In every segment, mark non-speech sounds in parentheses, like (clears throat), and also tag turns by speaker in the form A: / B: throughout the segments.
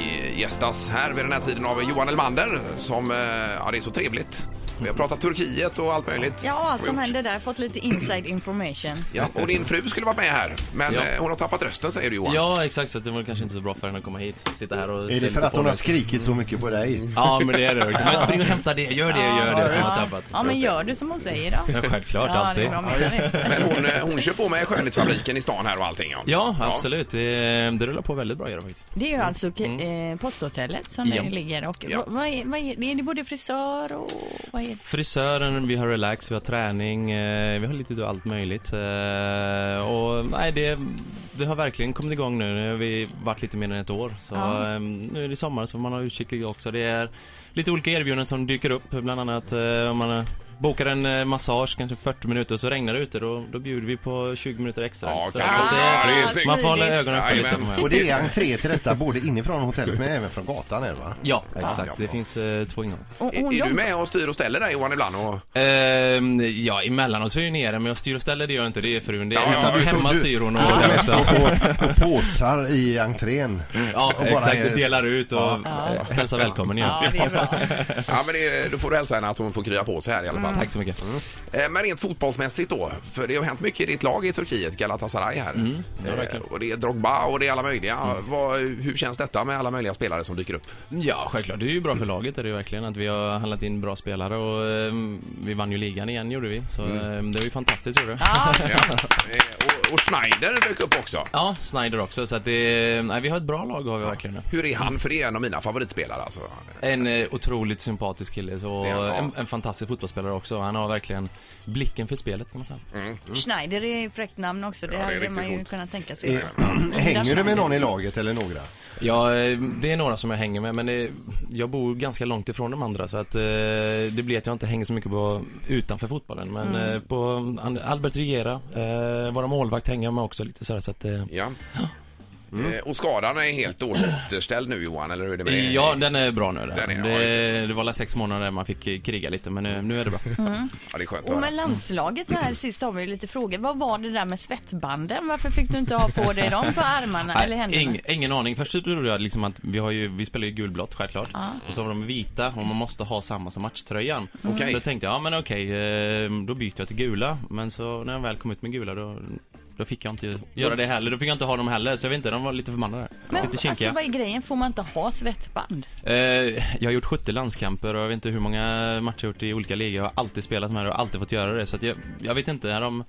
A: avgästas här vid den här tiden av Johan Elmander som, eh, ja det är så trevligt. Vi har pratat Turkiet och allt möjligt.
B: Ja, allt som
A: Och gjort.
B: händer där. Fått lite inside information.
A: Ja, och din fru skulle varit med här, men
C: Ja.
A: eh, hon har tappat rösten säger du Johan.
C: Ja, exakt. Så det var kanske inte så bra för henne att komma hit. Sitta här och...
D: Är
C: se Mm.
D: det för
C: lite
D: att hon har
C: folk.
D: skrikit så mycket på dig?
C: Ja, men det är det. också. Men spring och hämta det, gör det, gör det. Så har jag tappat.
B: Ja, men gör du som hon säger då.
C: Ja, självklart,
B: Ja, det
C: alltid.
B: är bra med det.
A: Men hon, eh, hon kör på med skönhetsfabriken i stan här och allting. Ja,
C: Ja, absolut. Det, det rullar på väldigt bra gör det faktiskt.
B: Det är ju alltså eh, posthotellet som
C: Ja.
B: det ligger och
A: Ja.
B: vad- vad är, vad är, är det både frisör och vad är det?
C: Frisören, vi har relax, vi har träning, eh, vi har lite utav allt möjligt. Eh, och nej, det, det har verkligen kommit igång nu. Nu har vi varit lite mer än ett år. Så
B: Ja.
C: eh, nu är det sommar så man har utkik lite också. Det är lite olika erbjudanden som dyker upp. Bland annat eh, om man eh, bokar en eh, massage, kanske 40 minuter, och så regnar det ute. Då, då bjuder vi på 20 minuter extra.
A: Ja,
C: så,
A: kanske.
C: så
A: Ja, det är
C: det,
A: snyggt.
C: man får hålla ögonen öppna lite.
A: Jajamän.
C: får man göra.
D: Och det är entré till detta både inifrån hotellet men även från gatan är det va?
C: Ja,
A: Ja.
C: exakt. Det finns eh, två ingångar.
B: Och
A: Är,
B: hon
A: är du
B: jobbar-
A: med och styr och ställer där Johan ibland? Och,
C: Ehm, ja, emellanåt så är jag nere, men jag styr och ställer, det gör jag inte, det är frun. Det är,
A: Ja, ja,
D: du-
C: hemma
D: du-
C: styr hon och
D: Du står
C: ordnar
D: mest
C: också.
D: och, och, och påsar i entrén.
C: Mm, Ja,
D: bara
C: exakt.
D: är-
C: Och delar ut och
D: Ja.
C: ja. hälsar välkommen igen.
B: Ja, det är bra.
A: ja, men det, då får du hälsa henne att hon får krya på sig här i alla
B: Mm.
A: fall.
C: Tack så mycket.
D: Mm.
A: Eh, Men rent fotbollsmässigt då, för det har hänt mycket i ditt lag i Turkiet, Galatasaray här.
C: ja, verkligen.
A: Eh, och det är Drogba och det är alla möjliga. Vad, hur känns detta med alla möjliga spelare som dyker upp?
C: Ja, självklart. Det är ju bra för laget är det ju verkligen att vi har handlat in bra spelare och ehm, vi vann ju ligan igen gjorde vi. Så
D: Mm.
C: ehm, det var ju fantastiskt gjorde det.
B: Ja,
A: Ja. Eh, Och, och Schneider dök upp också.
C: Ja, Snyder också. Så att det, nej, vi har ett bra lag har vi verkligen nu.
A: Hur är han? För det är en av mina favoritspelare alltså.
C: En eh, otroligt sympatisk kille så, och
A: Det är han, ja.
C: en, en fantastisk fotbollsspelare också. Han har verkligen blicken för spelet kan man säga.
B: Schneider är ett fräckt namn också. Det
A: Ja, det är
B: hade
A: riktigt
B: man ju
A: coolt.
B: kunnat tänka sig.
D: Eh, (clears throat) Hänger du med någon i laget eller några?
C: Ja, eh, det är några som jag hänger med men det, jag bor ganska långt ifrån de andra så att eh, det blir att jag inte hänger så mycket på utanför fotbollen. Men eh, på An- Albert Regera, eh, våra målvakt hänger jag med också lite sådär så att eh,
A: Ja. Eh, Och skadan är helt återställd nu Johan, eller hur är det med det?
C: Ja, den är bra nu. Den.
A: Den är- ja, just
C: det, det var alla sex månader man fick eh, kriga lite men nu, nu är det bra.
A: Ja, det är skönt att höra.
B: Och med landslaget här sist har vi ju lite frågor. Vad var det där med svettbanden? Varför fick du inte ha på dig dem på armarna eller
C: Nej,
B: händerna?
C: ing, ingen aning. Först trodde jag liksom att vi, har ju, vi spelar ju gulblått självklart. Och så var de vita och man måste ha samma som matchtröjan.
A: Okej.
C: Då tänkte jag, ja men okej, eh, då byter jag till gula. Men så när jag väl kom ut med gula då, då fick jag inte göra det heller. Då fick jag inte ha dem heller. Så jag vet inte, de var lite förbannade.
B: Men
C: lite
B: alltså
C: kinkiga.
B: vad är grejen? Får man inte ha svettband?
C: Eh, jag har gjort 70 landskamper och jag vet inte hur många matcher jag gjort i olika ligor. Jag har alltid spelat med det och alltid fått göra det. Så att jag, jag vet inte, när de,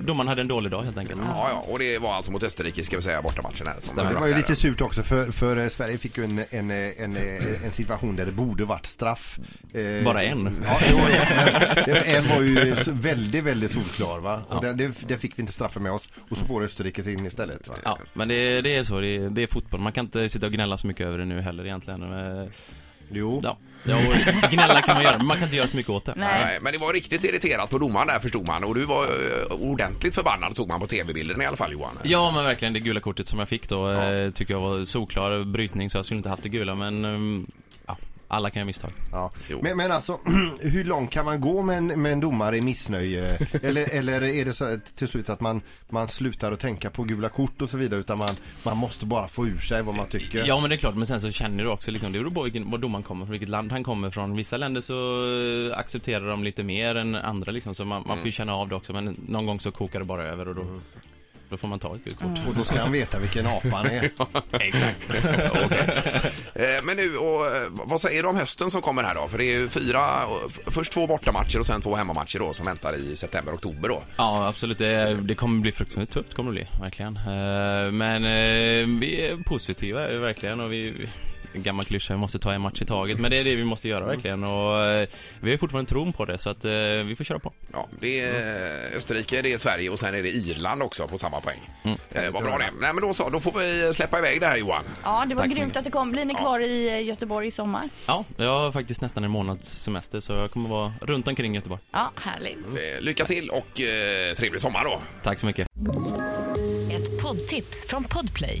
C: domaren hade en dålig dag helt enkelt.
A: Ja, ja, och det var alltså mot Österrike ska vi säga, bortamatchen här. som
D: Det
A: blev
D: var ju
A: där.
D: lite surt också för, för eh, Sverige fick ju en, en, eh, en, eh, en situation där det borde varit straff. Eh,
C: Bara en?
D: Ja, jo, jo, men det- en var ju så väldigt, väldigt solklar va. Och
C: Ja.
D: den, det, det fick vi inte straffa med oss och så får Österrike sig in istället va.
C: Ja, men det, det är så. Det, är- det är fotboll. Man kan inte sitta och gnälla så mycket över det nu heller egentligen. Men,
D: Jo.
C: ja, ja och gnälla kan man göra, men man kan inte göra så mycket åt det.
B: Nej.
A: Nej, men det var riktigt irriterat på domaren där förstod man och du var eh, ordentligt förbannad såg man på tv-bilden i alla fall Johan.
C: Ja men verkligen det gula kortet som jag fick då eh, tycker jag var solklar brytning så jag skulle inte haft det gula men ehm, ja, alla kan göra misstag.
D: Ja.
A: Jo.
D: Men, men alltså, (clears throat) hur långt kan man gå med en, med en domare i missnöje? Eller, eller är det så att till slut att man, man slutar att tänka på gula kort och så vidare utan man, man måste bara få ur sig vad man tycker?
C: Ja men det är klart men sen så känner du också liksom, det beror på vilken, var domaren kommer från, vilket land han kommer från. Vissa länder så eh, accepterar de lite mer än andra liksom så man, man får ju känna av det också men någon gång så kokar det bara över och då, då får man ta ett gult kort.
D: Och då ska han veta vilken apa han är.
A: (laughs) Exakt. (laughs) Eh, Men nu, och, eh, vad säger du om hösten som kommer här då? För det är ju fyra, f- först två bortamatcher och sen två hemmamatcher då som väntar i september, oktober då.
C: Ja, absolut. Det, det kommer bli fruktansvärt tufft, kommer det bli, verkligen. Eh, Men eh, vi är positiva, eh, verkligen. Och vi, en gammal klyscha, vi måste ta en match i taget. Men det är det vi måste göra, verkligen. Och eh, vi har ju fortfarande tron på det, så att eh, vi får köra på.
A: Ja, det är eh, Österrike, det är Sverige och sen är det Irland också på samma poäng. Eh, Vad bra det. Nej men då så, då får vi släppa iväg det här Johan.
B: Ja, det var
C: Tack så
B: grymt
C: mycket.
B: att du kom. Blir ni kvar i eh, Göteborg i sommar?
C: Ja, jag har faktiskt nästan en månads semester, så jag kommer vara runt omkring Göteborg.
B: Ja, härligt.
A: Eh, Lycka till och eh, trevlig sommar då.
C: Tack så mycket.
E: Ett poddtips från Podplay.